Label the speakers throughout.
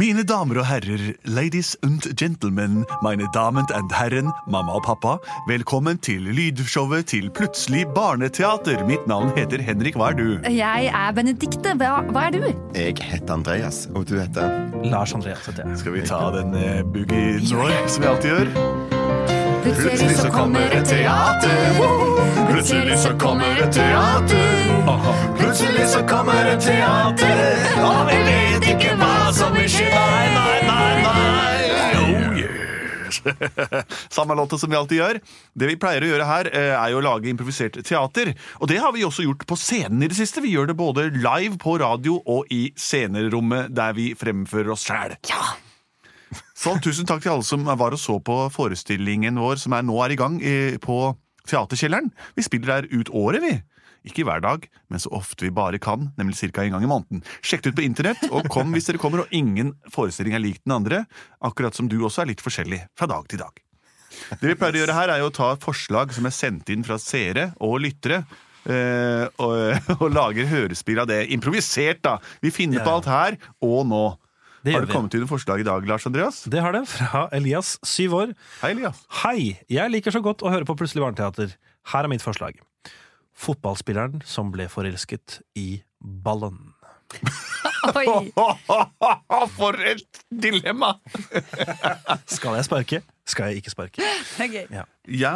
Speaker 1: Mine damer og herrer, ladies and gentlemen, mine damen and herren, mamma og pappa, velkommen til lydshowet til Plutselig barneteater. Mitt navn heter Henrik, hva er du?
Speaker 2: Jeg er Benedikte. Hva, hva er du?
Speaker 3: Jeg heter Andreas, og du heter
Speaker 4: Lars Andreas heter jeg.
Speaker 1: Skal vi ta den eh, boogie nå, som vi alltid gjør?
Speaker 2: Plutselig så kommer et teater. Plutselig så kommer et teater.
Speaker 3: Plutselig så kommer et teater, og vi vet ikke hva som vil skje. Nei, nei, nei, nei.
Speaker 1: Oh, yes. Samme låta som vi alltid gjør. Det vi pleier å gjøre her, eh, er jo å lage improvisert teater. Og det har vi også gjort på scenen i det siste. Vi gjør det både live på radio og i scenerommet, der vi fremfører oss sjæl. Så tusen takk til alle som var og så på forestillingen vår, som er nå er i gang eh, på Teaterkjelleren. Vi spiller der ut året, vi. Ikke hver dag, men så ofte vi bare kan, nemlig ca. en gang i måneden. Sjekk det ut på internett, og kom hvis dere kommer, og ingen forestilling er lik den andre, akkurat som du også er litt forskjellig fra dag til dag. Det vi pleier å gjøre her, er jo å ta forslag som er sendt inn fra seere og lyttere, eh, og, og lager hørespill av det. Improvisert, da! Vi finner
Speaker 4: Ja,
Speaker 1: på
Speaker 4: ja.
Speaker 1: alt her og nå.
Speaker 4: Det
Speaker 1: Har
Speaker 4: gjør
Speaker 1: det
Speaker 4: vi.
Speaker 1: kommet inn noen forslag i dag, Lars Andreas?
Speaker 4: Det har det, fra Elias, syv år.
Speaker 1: Hei, Elias.
Speaker 4: Hei, jeg liker så godt å høre på Plutselig barneteater. Her er mitt forslag. Fotballspilleren som ble forelsket i ballen.
Speaker 2: Oi.
Speaker 1: For et dilemma!
Speaker 4: Skal jeg sparke? Skal jeg ikke sparke?
Speaker 2: det er gøy.
Speaker 1: Ja,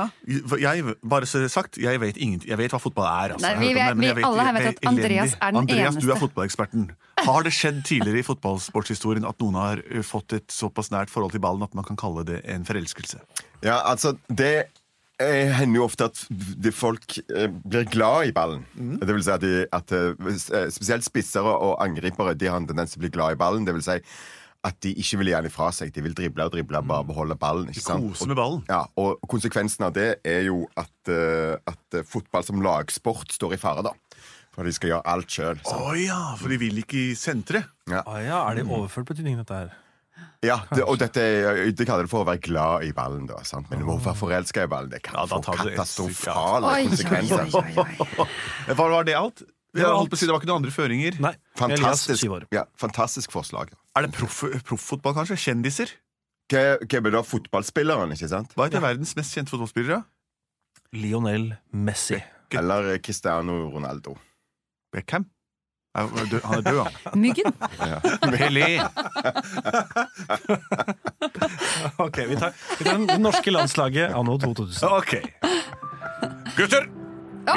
Speaker 1: jeg, bare så det er sagt, jeg vet, ingenting- jeg vet hva fotball er. Altså.
Speaker 2: Nei,
Speaker 1: Jeg har hørt om det,
Speaker 2: vi vet-
Speaker 1: men jeg
Speaker 2: vi alle her vet
Speaker 1: det
Speaker 2: at Andreas
Speaker 1: elendig.
Speaker 2: er den
Speaker 1: Andreas, du er
Speaker 2: eneste.
Speaker 1: fotballeksperten. Har det skjedd tidligere i fotballsportshistorien at noen har ø, fått et såpass nært forhold til ballen at man kan kalle det en forelskelse?
Speaker 3: Ja, altså, det eh, hender jo ofte at de folk eh, blir glad i ballen.
Speaker 1: Mm.
Speaker 3: Det vil si at, de, at eh, spesielt spissere og angripere de har en tendens til å bli glad i ballen. Det vil si at de ikke vil gi den ifra seg. De vil drible og drible og bare beholde ballen. Ikke sant?
Speaker 1: Mm. koser med ballen.
Speaker 3: Og, ja, og konsekvensen av det er jo at, eh, at eh, fotball som lagsport står i fare, da. For de skal gjøre alt sjøl.
Speaker 1: Å ja, for de vil ikke i senteret.
Speaker 3: Ja.
Speaker 4: Å ja, er det i overført betydning, dette her?
Speaker 3: Ja, det, og dette er- eh, de kaller det for å være glad i ballen, da. Sant? Men å være forelska i ballen, det kan
Speaker 1: Ja, da
Speaker 3: få
Speaker 1: tar det et
Speaker 2: Oi,
Speaker 3: katastrofale
Speaker 2: oi,
Speaker 3: konsekvenser.
Speaker 2: oi, oi.
Speaker 1: Eh, Var, var det alt?
Speaker 4: Det var
Speaker 1: Jeg holdt på å si, det var ikke noen andre føringer.
Speaker 4: Nei. Elias,
Speaker 3: Fantastisk,
Speaker 4: syv år.
Speaker 3: ja, fantastisk forslag.
Speaker 1: Er det proff- profffotball, kanskje? Kjendiser?
Speaker 3: Hva hva med da fotballspilleren, ikke sant?
Speaker 1: Hva heter verdens mest kjente fotballspillere?
Speaker 4: Lionel Messi.
Speaker 3: Eller eh, Cristiano Ronaldo.
Speaker 1: Beckham? Er- er død- Han er død, han.
Speaker 2: Myggen.
Speaker 3: Ja.
Speaker 1: Pelé!
Speaker 4: Ok, vi tar, vi tar det norske landslaget anno 2000.
Speaker 1: Ok. Gutter!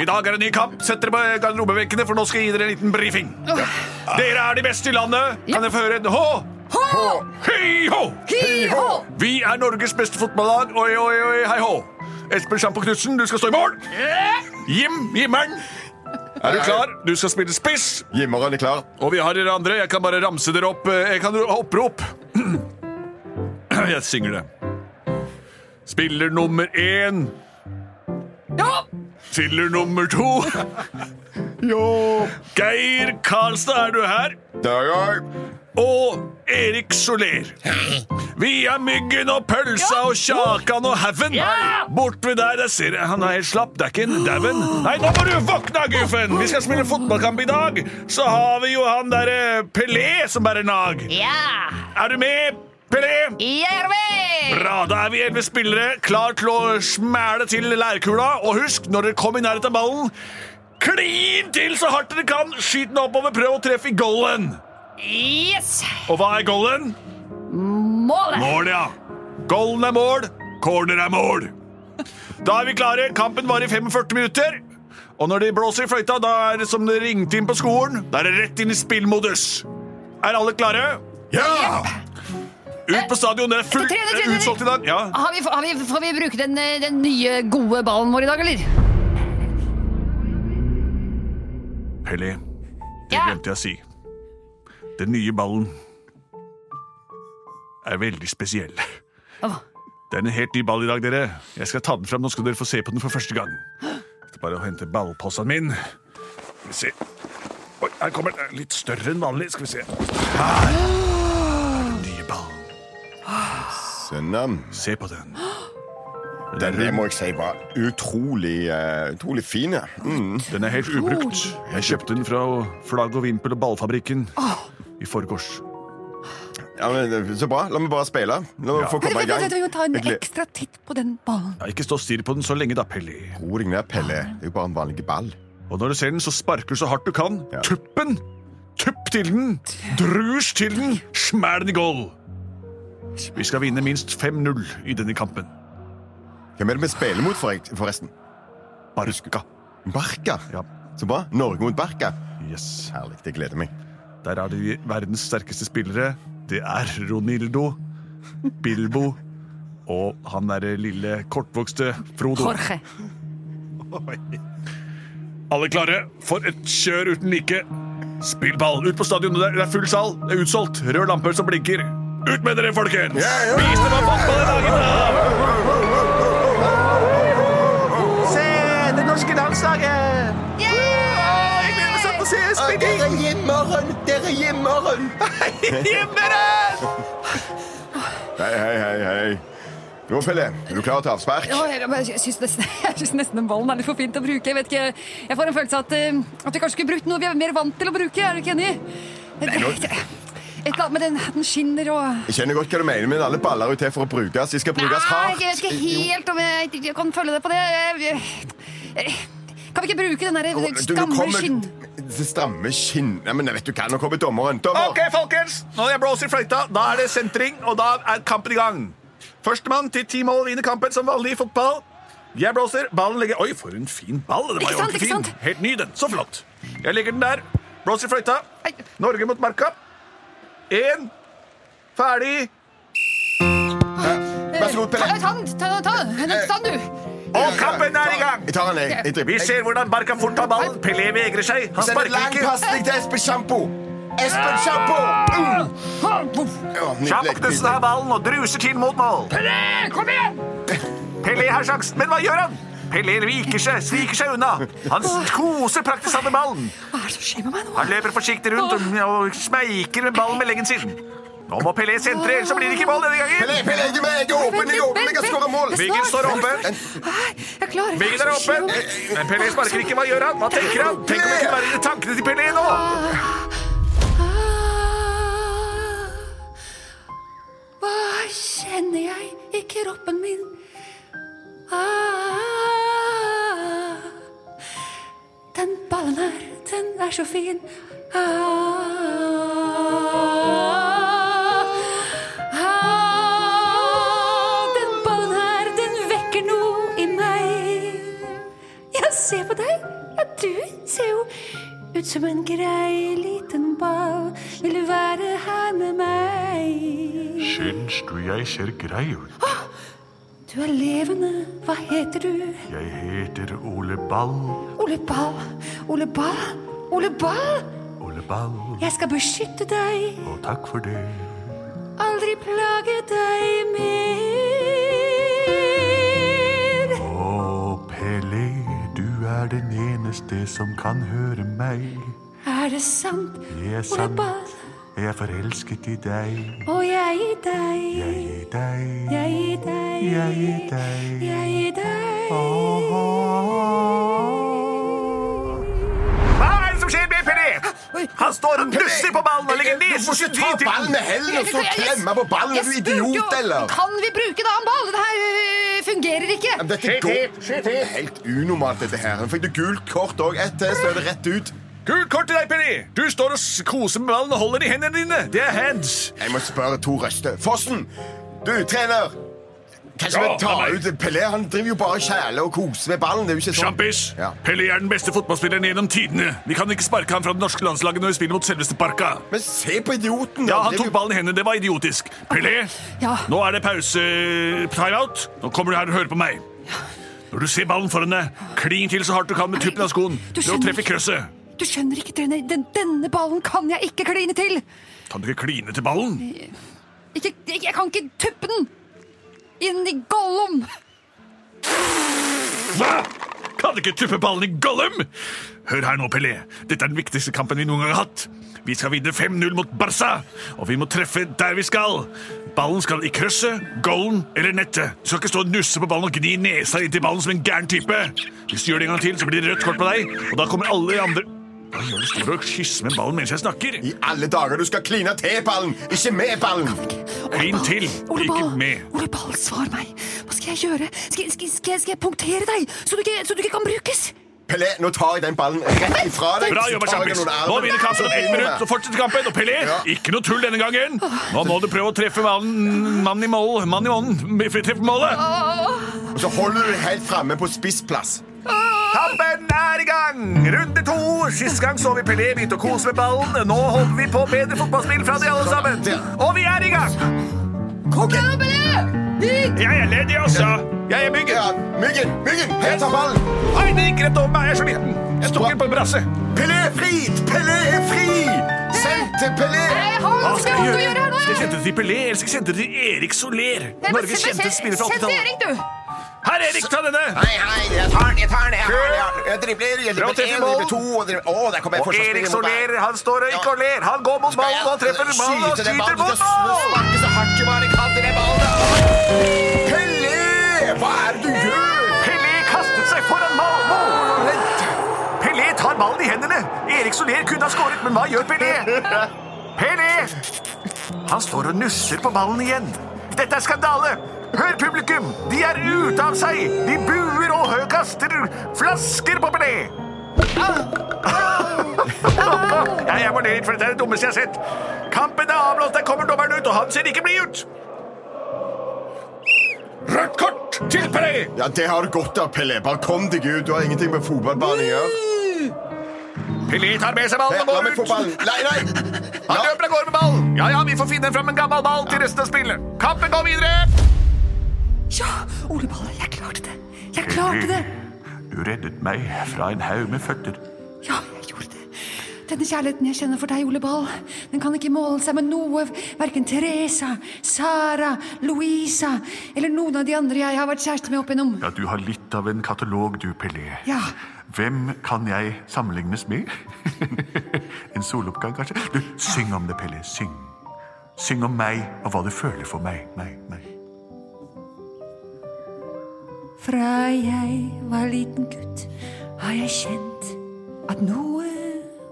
Speaker 1: I dag er det en ny kamp. Sett dere på garderobebenkene, for nå skal jeg gi dere en liten brifing. Dere er de beste i landet. Kan jeg få høre en hå? Hei-hå! Vi er Norges beste fotballag. Oi, oi, oi, hei-hå. Espen Sjampo Knutsen, du skal stå i mål. Jim Jimmeren. Er du klar? Du skal spille spiss.
Speaker 3: Gimmeren er klar.
Speaker 1: Og vi har dere andre. Jeg kan bare ramse dere opp. eh, Jeg kan ro- opprop. Jeg synger det. Spiller nummer én. Ja! Spiller nummer to.
Speaker 3: Jo!
Speaker 1: Geir Karlstad, er du her?
Speaker 3: Der er jeg.
Speaker 1: Og Erik Soler. Vi er Myggen og Pølsa og Kjakan og Haugen. Bort ved der, der ser jeg han er helt slapp. Det er ikke en dauen. Nei, nå må du våkne, Guffen! Vi skal spille fotballkamp i dag. Så har vi jo han derre Pelé som bærer nag.
Speaker 2: Ja!
Speaker 1: Er du med, Pelé?
Speaker 2: Jervi!
Speaker 1: Bra, da er vi elleve spillere, klar til å smæle til lærkula. Og husk, når dere kommer i nærheten av ballen, klin til så hardt dere kan. Skyt den oppover, prøv å treffe i goalen.
Speaker 2: Yes!
Speaker 1: Og hva er goalen?
Speaker 2: Målet!
Speaker 1: Mål, ja. Goalen er mål, corner er mål. Da er vi klare. Kampen varer i 45 minutter. Og når de blåser i fløyta, da er det som det ringte inn på skolen. Da er det rett inn i spillmodus. Er alle klare?
Speaker 3: Ja!
Speaker 1: Ut på stadion. Det er fullt
Speaker 2: Tre, tre, tre, tre.
Speaker 1: utsolgt i dag. Ja.
Speaker 2: Har vi, har vi, får vi bruke den, eh, den nye, gode ballen vår i dag, eller?
Speaker 1: Pelé, det
Speaker 2: Ja.
Speaker 1: glemte jeg å si. Den nye ballen er veldig spesiell.
Speaker 2: Åh.
Speaker 1: Det er en helt ny ball i dag, dere. Jeg skal ta den fram, nå skal dere få se på den for første gang. Det er bare å hente ballposen min. Skal vi se. Oi, her kommer den. Den er Litt større enn vanlig. Skal vi se. Her er den nye ballen.
Speaker 3: Sønnen.
Speaker 1: Se på den.
Speaker 3: Den det må jeg si var utrolig, eh, utrolig fin. ja. Mm.
Speaker 1: Den er helt ubrukt. Jeg kjøpte den fra Flagg og Vimpel og Ballfabrikken i forgårs.
Speaker 3: Ja, men, det- så bra. La meg bare spille. La meg
Speaker 1: Ja.
Speaker 3: få komme i
Speaker 2: Vent,
Speaker 3: gang.
Speaker 2: vent, vent, vi må ta en
Speaker 3: Jeg gled-
Speaker 2: ekstra titt på den ballen.
Speaker 1: Ja, ikke stå og stirr på den så lenge, da, Pelli.
Speaker 3: Ro deg ned, Pelle.
Speaker 2: Ah.
Speaker 3: Det er jo bare en vanlig ball.
Speaker 1: Og når du ser den, så sparker du så hardt du kan.
Speaker 3: Ja.
Speaker 1: Tuppen! Tupp til den! Drusj til den! Smell den i goal! Vi skal vinne minst 5-0 i denne kampen.
Speaker 3: Hvem er det vi spiller mot, forre- forresten?
Speaker 1: Barka.
Speaker 3: Barca.
Speaker 1: Ja.
Speaker 3: Så bra. Norge mot Barca.
Speaker 1: Yes.
Speaker 3: Herlig. Jeg gleder meg.
Speaker 1: Der er de verdens sterkeste spillere. Det er Ronildo, Bilbo og han derre lille kortvokste Frodo.
Speaker 2: Jorge.
Speaker 1: Alle klare for et kjør uten like. Spill ball. Ut på stadionet der. Det er full sal. Det er utsolgt. Rød lampe som blinker. Ut med dere, folkens! Vis dem hva fotball er laget av!
Speaker 5: Se, det norske landslaget! Jeg gleder meg sånn til å se spilling!
Speaker 3: Dere gjemmer Dere gjemmer den! Hei, hei, hei. hei. Jo, Pelle, er du klar til avspark?
Speaker 2: Åh, jeg- jeg- Jeg syns nesten, jeg synes nesten den ballen er litt for fint å bruke. Jeg vet ikke, jeg får en følelse av at, eh, at vi kanskje skulle brukt noe vi er mer vant til å bruke. Er du ikke enig? Et eller annet med den, at den skinner og
Speaker 3: Jeg kjenner godt hva du mener, men alle baller er jo til for å brukes. De skal brukes
Speaker 2: Nei,
Speaker 3: hardt.
Speaker 2: jeg vet ikke
Speaker 3: Jo,
Speaker 2: helt om jeg, jeg kan følge deg på det. Jeg- jeg- Kan vi ikke bruke den
Speaker 3: jo,
Speaker 2: derre
Speaker 3: du, nå
Speaker 2: stramme
Speaker 3: kommer-
Speaker 2: skinn...
Speaker 3: Det stramme skinn. Nei, men vet du hva, nå kommer dommeren. Dommer!
Speaker 1: Ok, folkens, når jeg blåser i fløyta, da er det sentring, og da er kampen i gang. Førstemann til ti mål vinner kampen som vanlig i fotball. Jeg blåser, ballen legger Oi, for en fin ball! Den var
Speaker 2: Ikke
Speaker 1: jo
Speaker 2: sant,
Speaker 1: ordentlig
Speaker 2: ikke
Speaker 1: fin.
Speaker 2: sant?
Speaker 1: Helt ny, den. Så flott. Jeg legger den der. Blåser i fløyta.
Speaker 2: Ei.
Speaker 1: Norge mot Marka. Én. Ferdig.
Speaker 3: Vær så god, Pelle.
Speaker 2: Ta den, ta den, ta den. Den stand, du.
Speaker 1: Og kampen er i gang!
Speaker 3: Jeg tar den, jeg. Jeg
Speaker 1: Vi
Speaker 3: dribler.
Speaker 1: ser hvordan Barca fort tar ballen. Pelé vegrer seg. Han
Speaker 3: Send en
Speaker 1: sparker
Speaker 3: lang
Speaker 1: ikke.
Speaker 3: pasning til Espen Sjampo. Espen Sjampo! Mm. Ja, nydelig,
Speaker 1: Sjampo Knutsen
Speaker 3: nydelig.
Speaker 1: har ballen og druser til mot mål. Pelé, kom igjen! Pelé har sjansen, men hva gjør han? Pelé viker seg, sviker seg unna. Han koser praktisk han med ballen.
Speaker 2: Hva er det som skjer med meg nå?
Speaker 1: Han løper forsiktig rundt og, og smeiker med ballen med leggen sin. Nå må Pelé sentre, ellers så blir det ikke mål denne
Speaker 3: Pelle,
Speaker 1: gangen.
Speaker 3: Pelle, jeg er med! Jeg er åpen! Jeg er åpen! Jeg har skåret mål!
Speaker 1: Viggen står oppe.
Speaker 2: Nei, Jeg klarer det.
Speaker 1: Viggen er oppe. Men Pelé sparker ikke. Hva gjør han? Hva tenker han? Tenk om det kunne være tankene til Pelé nå!
Speaker 2: Hva kjenner jeg i kroppen min? Ah, Den ballen her, den er så fin. Ah, ah, Den ballen her, den vekker noe i meg. Ja, se på deg. Ja, du ser jo ut som en grei liten ball. Vil du være her med meg?
Speaker 6: Syns du jeg ser grei ut?
Speaker 2: Du er levende. Hva heter du?
Speaker 6: Jeg heter Ole Ball,
Speaker 2: Ole Ball. Ole Ball. Ole Ball.
Speaker 6: Ole Ball,
Speaker 2: Jeg skal beskytte deg.
Speaker 6: og takk for det.
Speaker 2: Aldri plage deg mer.
Speaker 6: Å, Pelle, E, du er den eneste som kan høre meg.
Speaker 2: Er det sant?
Speaker 6: Det er
Speaker 2: Ole
Speaker 6: sant,
Speaker 2: Ball.
Speaker 6: jeg er forelsket i deg.
Speaker 2: Og jeg i deg.
Speaker 6: Jeg i deg,
Speaker 2: Jeg i deg.
Speaker 6: jeg i deg.
Speaker 2: Jeg i deg.
Speaker 1: Hva er det som skjer med Pelé? Han står og nusser på ballen og legger
Speaker 3: Du må
Speaker 1: nesen
Speaker 3: ikke
Speaker 1: sin
Speaker 3: ta
Speaker 1: til den.
Speaker 3: ballen med hendene og så
Speaker 2: Jeg- jeg-
Speaker 3: klemme altså, på ballen! Er
Speaker 2: Jeg
Speaker 3: du
Speaker 2: spurte jo,
Speaker 3: idiot, eller?
Speaker 2: Kan vi bruke en annen ball? Det her øh, fungerer ikke.
Speaker 3: Ja, men Dette går Det er helt unormalt, dette her. Han fikk det gult kort òg. Ett til, så er det rett ut.
Speaker 1: Gult kort til deg, Pelé! Du står og s- koser med ballen og holder i hendene dine. Det er hands.
Speaker 3: Jeg må spørre to røster. Fossen! Du, trener! Kanskje
Speaker 1: Ja,
Speaker 3: vi tar
Speaker 1: han er-
Speaker 3: ut Pelé? Han driver jo bare og kjæler og koser med ballen. Det er jo ikke sånn.
Speaker 1: Sjampis!
Speaker 3: Ja.
Speaker 1: Pelé er den beste fotballspilleren gjennom tidene. Vi kan ikke sparke ham fra det norske landslaget når vi spiller mot selveste Barca.
Speaker 3: Men se på idioten!
Speaker 1: Ja, han
Speaker 3: driver
Speaker 1: tok
Speaker 3: jo-
Speaker 1: ballen i hendene. Det var idiotisk. Pelé,
Speaker 2: Ja.
Speaker 1: nå er det pause timeout. Nå kommer du her og hører på meg. Når du ser ballen foran deg, klin til så hardt du kan med tuppen av skoen.
Speaker 2: du
Speaker 1: Det å
Speaker 2: skjønner
Speaker 1: treffe krøsset.
Speaker 2: Du skjønner ikke, trener. Den, denne ballen kan jeg ikke kline til!
Speaker 1: Kan du ikke kline til ballen?
Speaker 2: Ikke, jeg, jeg kan ikke tuppe den! Inn i Gollum!
Speaker 1: Hva? Kan ikke tuppe ballen i Gollum? Hør her nå, Pelé. Dette er den viktigste kampen vi noen gang har hatt. Vi skal vinne 5-0 mot Barca, og vi må treffe der vi skal. Ballen skal i krysset, goalen eller nettet. Du skal ikke stå og nusse på ballen og gni nesa inntil ballen som en gæren type. Hvis du gjør det en gang til, så blir det rødt kort på deg, og da kommer alle de andre Hva gjør du? Står du og kysser med ballen mens jeg snakker?
Speaker 3: I alle dager, du skal kline til ballen, ikke med ballen!
Speaker 1: Klin til,
Speaker 2: Ole
Speaker 1: ikke
Speaker 2: Ball,
Speaker 1: med.
Speaker 2: Ole Ball, svar meg! Hva skal jeg gjøre? Skal, jeg- skal, skal, jeg- skal jeg punktere deg, så du ikke, så du ikke kan brukes?
Speaker 3: Pelé, nå tar jeg den ballen rett ifra deg.
Speaker 1: Bra
Speaker 3: så
Speaker 1: jobba,
Speaker 3: tar jeg
Speaker 1: Champis.
Speaker 3: den under armen.
Speaker 1: Nå vinner kampen om ett minutt, så fortsetter kampen. Og Pelé,
Speaker 3: Ja.
Speaker 1: ikke noe tull denne gangen. Nå må du prøve å treffe mannen mannen i mål. Mannen i månen. Treffe målet.
Speaker 3: Og så holder du deg helt framme på spissplass.
Speaker 5: Kampen er i gang! Runde to. Sist gang så vi Pelé begynte å kose med ballen. Nå holder vi på bedre fotballspill fra de alle
Speaker 2: Sånn,
Speaker 5: sammen. Og vi er i gang!
Speaker 3: Ok.
Speaker 5: Jeg er ledig også. Jeg er myggen.
Speaker 3: Ja, myggen, myggen, her tar ballen.
Speaker 5: Nei, det gikk rett over meg. Jeg er så liten. Jeg tok den på en brasse.
Speaker 3: Pelé er fri! Pelé er fri! Send til Pelé!
Speaker 2: Jeg har
Speaker 1: Hva
Speaker 2: noe som
Speaker 1: skal
Speaker 2: jeg
Speaker 1: jeg
Speaker 2: har å gjøre
Speaker 1: gjøre?
Speaker 2: her nå!
Speaker 1: Skal jeg
Speaker 2: jeg.
Speaker 1: sende det til Pelé, eller skal jeg sende det til Erik Soler?
Speaker 2: Jeg må
Speaker 1: Norges
Speaker 2: sende-
Speaker 1: kjente spiller fra
Speaker 2: send til
Speaker 1: 80-tallet.
Speaker 2: Erik, du!
Speaker 1: Her, Erik, ta denne!
Speaker 3: Hei, hei, jeg tar den, jeg tar den. Jeg, har den, jeg, har- jeg dribler, jeg
Speaker 1: Bra
Speaker 3: dribler
Speaker 1: til
Speaker 3: én, dribler
Speaker 1: mål.
Speaker 3: to. Og dribler, å, der kommer jeg
Speaker 5: Og
Speaker 3: forsvarsspiller
Speaker 5: Erik
Speaker 3: mot meg.
Speaker 5: Soler, han står og ikke og ler. Han går mot ballen og treffer ballen og
Speaker 3: Skyte den
Speaker 5: skyter
Speaker 3: ballen,
Speaker 5: mot
Speaker 3: du skal
Speaker 5: ballen.
Speaker 3: sparke så hardt du bare kan til den ballen. da. Pelé, hva er det du gjør?
Speaker 5: Pelé kastet seg foran mål. målet. Pelé tar ballen i hendene. Erik Soler kunne ha skåret, men hva gjør Pelé? Pelé! Han står og nusser på ballen igjen. Dette er skandale. Hør, publikum! De er ute av seg! De buer og hø- kaster flasker på Pelé! Ja, jeg må ned litt, for dette er det dummeste jeg har sett. Kampen er avblåst, der kommer dommeren ut, og han ser ikke blid ut! Rødt kort til Pelé!
Speaker 3: Ja, Det har du godt av, Pelé. Bare kom deg ut. Du har ingenting med fotballbanen å gjøre.
Speaker 5: Pelé tar med seg
Speaker 3: Her,
Speaker 5: ballen
Speaker 3: La
Speaker 5: og
Speaker 3: meg
Speaker 5: går
Speaker 3: få
Speaker 5: ut.
Speaker 3: ballen. Nei, nei!
Speaker 5: Han
Speaker 3: Ja.
Speaker 5: løper av gårde med ballen. Ja, ja, vi får finne fram en gammel ball til resten av spillet. Kampen går videre.
Speaker 2: Ja, Ole Ball, jeg klarte det. Jeg klarte det!
Speaker 6: E, Du reddet meg fra en haug med føtter.
Speaker 2: Ja, jeg gjorde det. Denne kjærligheten jeg kjenner for deg, Ole Ball, den kan ikke måle seg med noe, verken Teresa, Sara, Louisa eller noen av de andre jeg har vært kjæreste med opp igjennom.
Speaker 6: Ja, du har litt av en katalog, du, Pelé.
Speaker 2: Ja.
Speaker 6: Hvem kan jeg sammenlignes med? en soloppgang, kanskje? Du, syng om det, Pelé. Syng. Syng om meg og hva du føler for meg. Meg, meg.
Speaker 2: Fra jeg var liten gutt, har jeg kjent at noe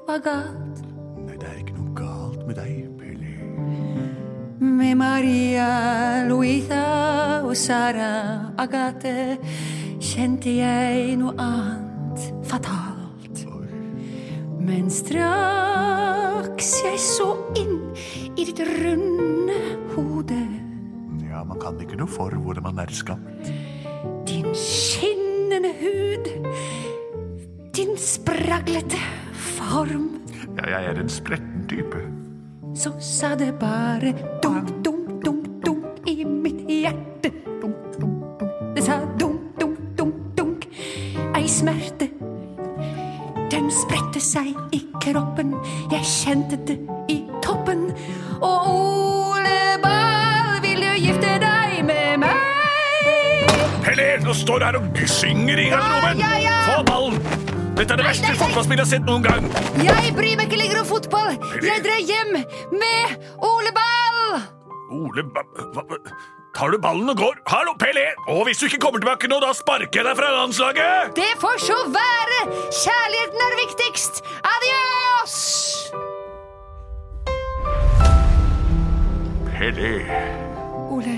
Speaker 2: var galt
Speaker 6: Nei, det er ikke noe galt med deg, Pelé.
Speaker 2: med Maria, Louisa og Sara Agathe. Kjente jeg noe annet fatalt. Men straks jeg så inn i ditt runde hode,
Speaker 6: Ja, man kan ikke noe for hvordan man er skapt.
Speaker 2: din skinnende hud, din spraglete form.
Speaker 6: Ja, jeg er en spretten type.
Speaker 2: så sa det bare dump, dump, dump, dump i mitt hjerte. Dump, dump, dump. Det sa dump, dump, dump, dunk. Ei smerte. Den spredte seg i kroppen. Jeg kjente det i toppen. Og Ole Ball, vil du gifte deg med meg?
Speaker 1: Pelé, nå står du her og synger i garderoben!
Speaker 2: Ja, ja, ja.
Speaker 1: Få ballen! Dette er det verste
Speaker 2: nei, nei.
Speaker 1: fotballspillet jeg har sett noen gang.
Speaker 2: Jeg bryr meg ikke lenger om fotball. Jeg drar hjem med Ole Ball.
Speaker 1: Ole, hva, hva, tar du ballen og går? Hallo, Pelé! Og hvis du ikke kommer tilbake nå, da sparker jeg deg fra landslaget!
Speaker 2: Det får så være! Kjærligheten er viktigst! Adios!
Speaker 6: Pelé.
Speaker 2: Ole,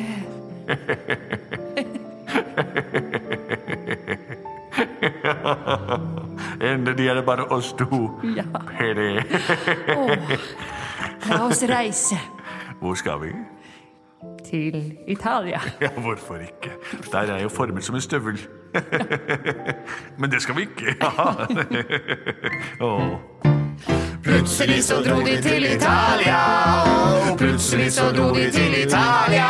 Speaker 6: Endelig er det bare oss to.
Speaker 2: Ja.
Speaker 6: Pelé.
Speaker 2: la oss reise
Speaker 6: Hvor skal vi?
Speaker 2: til Italia.
Speaker 6: Ja, hvorfor ikke? Der er jeg jo formet som en støvel. Men det skal vi ikke ha. Åh.
Speaker 3: Plutselig så dro de til Italia. Plutselig så dro de til Italia.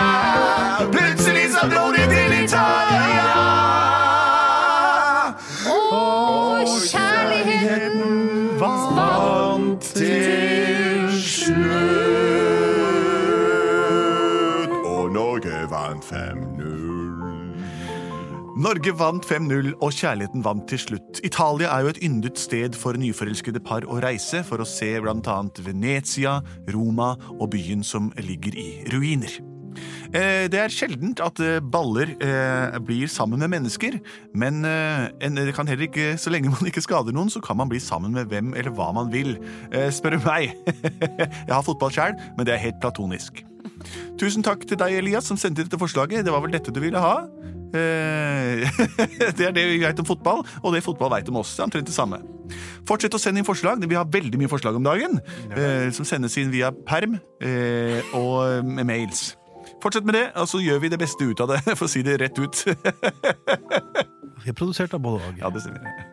Speaker 3: Plutselig så dro de til Italia.
Speaker 2: Og kjærligheten
Speaker 6: Hva
Speaker 3: 5-0.
Speaker 6: Norge vant 5-0, og kjærligheten vant til slutt. Italia er jo et yndet sted for nyforelskede par å reise for å se bl.a. Venezia, Roma og byen som ligger i ruiner. Eh, Det er sjeldent at eh, baller eh, blir sammen med mennesker, men eh, en- det kan heller ikke, så lenge man ikke skader noen, så kan man bli sammen med hvem eller hva man vil. Eh, Spør du meg. Jeg har fotball sjæl, men det er helt platonisk. Tusen takk til deg, Elias, som sendte dette forslaget. Det var vel dette du ville ha? Eh, det er det vi vet om fotball, og det fotball vet om oss. Det er omtrent det samme. Fortsett å sende inn forslag. Vi har veldig mye forslag om dagen, eh, som sendes inn via perm eh, og med mails. Fortsett med det, og så gjør vi det beste ut av det, for å si det rett ut.
Speaker 4: Vi er produsert av både og.
Speaker 6: ja, det stemmer.